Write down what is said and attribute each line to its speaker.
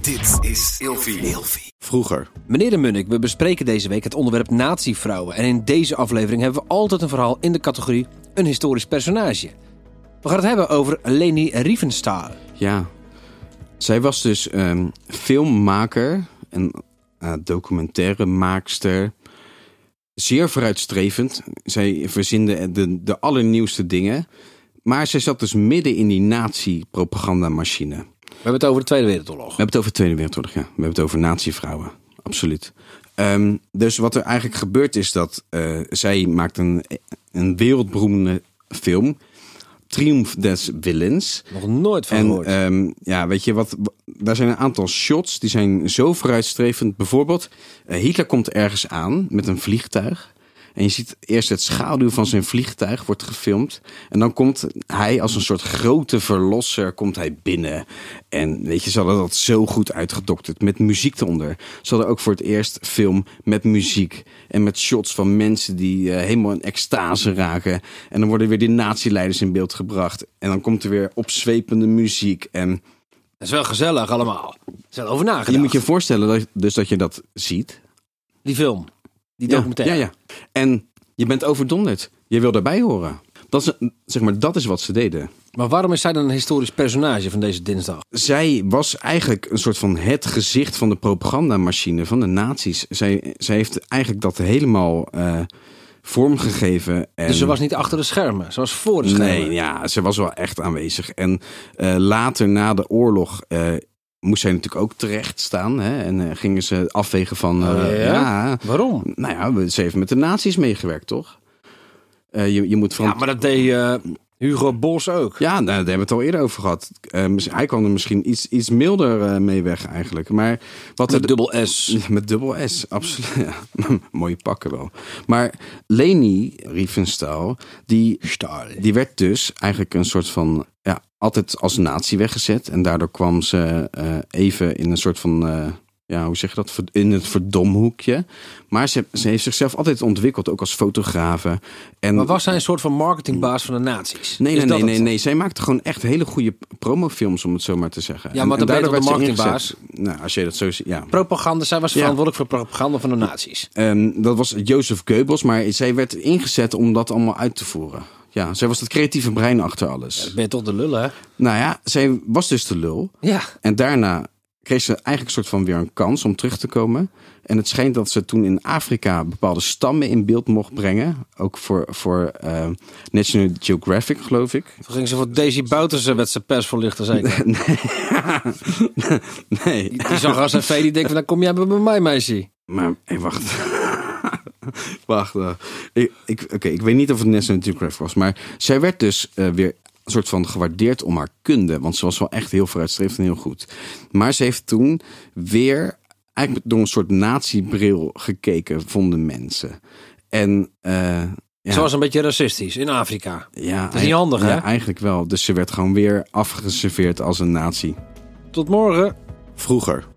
Speaker 1: Dit is Ilfie.
Speaker 2: Vroeger.
Speaker 3: Meneer de Munnik, we bespreken deze week het onderwerp natievrouwen. En in deze aflevering hebben we altijd een verhaal in de categorie een historisch personage. We gaan het hebben over Leni Riefenstahl.
Speaker 2: Ja. Zij was dus ehm, filmmaker en eh, documentairemaakster. Zeer vooruitstrevend. Zij verzinde de, de allernieuwste dingen. Maar zij zat dus midden in die nazi-propagandamachine.
Speaker 3: We hebben het over de Tweede Wereldoorlog.
Speaker 2: We hebben het over de Tweede Wereldoorlog, ja. We hebben het over natievrouwen. Absoluut. Ehm, dus wat er eigenlijk gebeurt is dat eh, zij maakt een, een wereldberoemde film. Triumph des Willens.
Speaker 3: Nog nooit van
Speaker 2: en
Speaker 3: gehoord.
Speaker 2: ehm, ja, weet je wat? Daar zijn een aantal shots die zijn zo vooruitstrevend. Bijvoorbeeld, eh, Hitler komt ergens aan met een vliegtuig. En je ziet eerst het schaduw van zijn vliegtuig wordt gefilmd. En dan komt hij als een soort grote verlosser komt hij binnen. Eh, En weet je, ze hadden dat zo goed uitgedokterd. Met muziek eronder. Ze hadden ook voor het eerst film met muziek. En met shots van mensen die eh, helemaal in extase raken. En dan worden weer die nazileiders in beeld gebracht. En dan komt er weer opzwepende muziek. En
Speaker 3: Dat is wel gezellig allemaal. Er is wel over nagedacht.
Speaker 2: je moet je voorstellen dat, dus dat je dat ziet.
Speaker 3: Die film. Die
Speaker 2: Ja,
Speaker 3: documentaire.
Speaker 2: Ja, ja. En je bent overdonderd. Je wil daarbij horen. Dat is, een- zeg maar, dat is wat ze deden.
Speaker 3: Maar waarom is zij dan een historisch personage van deze dinsdag?
Speaker 2: Zij was eigenlijk een soort van het gezicht van de propagandamachine van de nazi's. Zij, zij heeft eigenlijk dat helemaal eh, vormgegeven. En
Speaker 3: Dus ze was niet achter de schermen. Ze was voor de schermen.
Speaker 2: Nee, ja, ze was wel echt aanwezig. En eh, later na de oorlog eh, moest zij natuurlijk ook terecht staan. Hè? En eh, gingen ze afwegen van... eh,
Speaker 3: Oh, ja?
Speaker 2: ja,
Speaker 3: Waarom?
Speaker 2: nou ja, we- ze heeft met de nazi's meegewerkt, toch? Eh, je, je moet van...
Speaker 3: Ja, maar dat deed eh, Hugo Bos ook.
Speaker 2: Ja, nou, daar hebben we het al eerder over gehad. Eh, mis- hij kwam er misschien iets, iets milder eh, mee weg eigenlijk. Maar wat er...
Speaker 3: Met dubbel S.
Speaker 2: Met dubbel S, absoluut. Ja. Mooie pakken wel. Maar Leni Riefenstahl, die, die werd dus eigenlijk een soort van... Ja, altijd als nazi weggezet. En daardoor kwam ze eh, even in een soort van... eh, ja, hoe zeg je dat? Verd- In het verdomhoekje. Maar ze, ze heeft zichzelf altijd ontwikkeld, ook als fotografe. En
Speaker 3: Maar was zij een soort van marketingbaas van de nazi's?
Speaker 2: Nee,
Speaker 3: Is
Speaker 2: nee,
Speaker 3: dat
Speaker 2: nee,
Speaker 3: het?
Speaker 2: nee, nee. Zij maakte gewoon echt hele goede promofilms, om het zo maar te zeggen.
Speaker 3: Ja, maar dan ben je
Speaker 2: daardoor
Speaker 3: toch
Speaker 2: werd
Speaker 3: de
Speaker 2: ze
Speaker 3: marketingbaas?
Speaker 2: ingezet. Nou, als je dat zo ziet, ja.
Speaker 3: Propaganda, zij was verantwoordelijk voor propaganda van de nazi's.
Speaker 2: Ehm, dat was Jozef Goebbels, maar zij werd ingezet om dat allemaal uit te voeren. Ja, zij was het creatieve brein achter alles.
Speaker 3: Ben je toch de lullen, hè?
Speaker 2: Nou ja, zij was dus de lul.
Speaker 3: Ja.
Speaker 2: En daarna kreeg ze eigenlijk een soort van weer een kans om terug te komen. En het schijnt dat ze toen in Afrika bepaalde stammen in beeld mocht brengen. Ook voor, voor eh, National Geographic, geloof ik.
Speaker 3: Toen ging ze voor Daisy Bouterse werd ze persvoorlichter zeker.
Speaker 2: Nee.
Speaker 3: Die, die zag als een vee, die denkt van, dan kom jij bij mij, meisje.
Speaker 2: Maar, hé, wacht. wacht. eh, ik, ik, Oké, ik weet niet of het National Geographic was. Maar zij werd dus eh, weer een soort van gewaardeerd om haar kunde. Want ze was wel echt heel vooruitstrevend en heel goed. Maar ze heeft toen weer eigenlijk door een soort natiebril gekeken, vonden mensen. En eh, ja,
Speaker 3: Ze was een beetje racistisch in Afrika.
Speaker 2: ja,
Speaker 3: is niet
Speaker 2: eigen-
Speaker 3: handig, hè?
Speaker 2: Ja, eigenlijk wel. Dus ze werd gewoon weer afgeserveerd als een nazi.
Speaker 3: Tot morgen.
Speaker 2: Vroeger.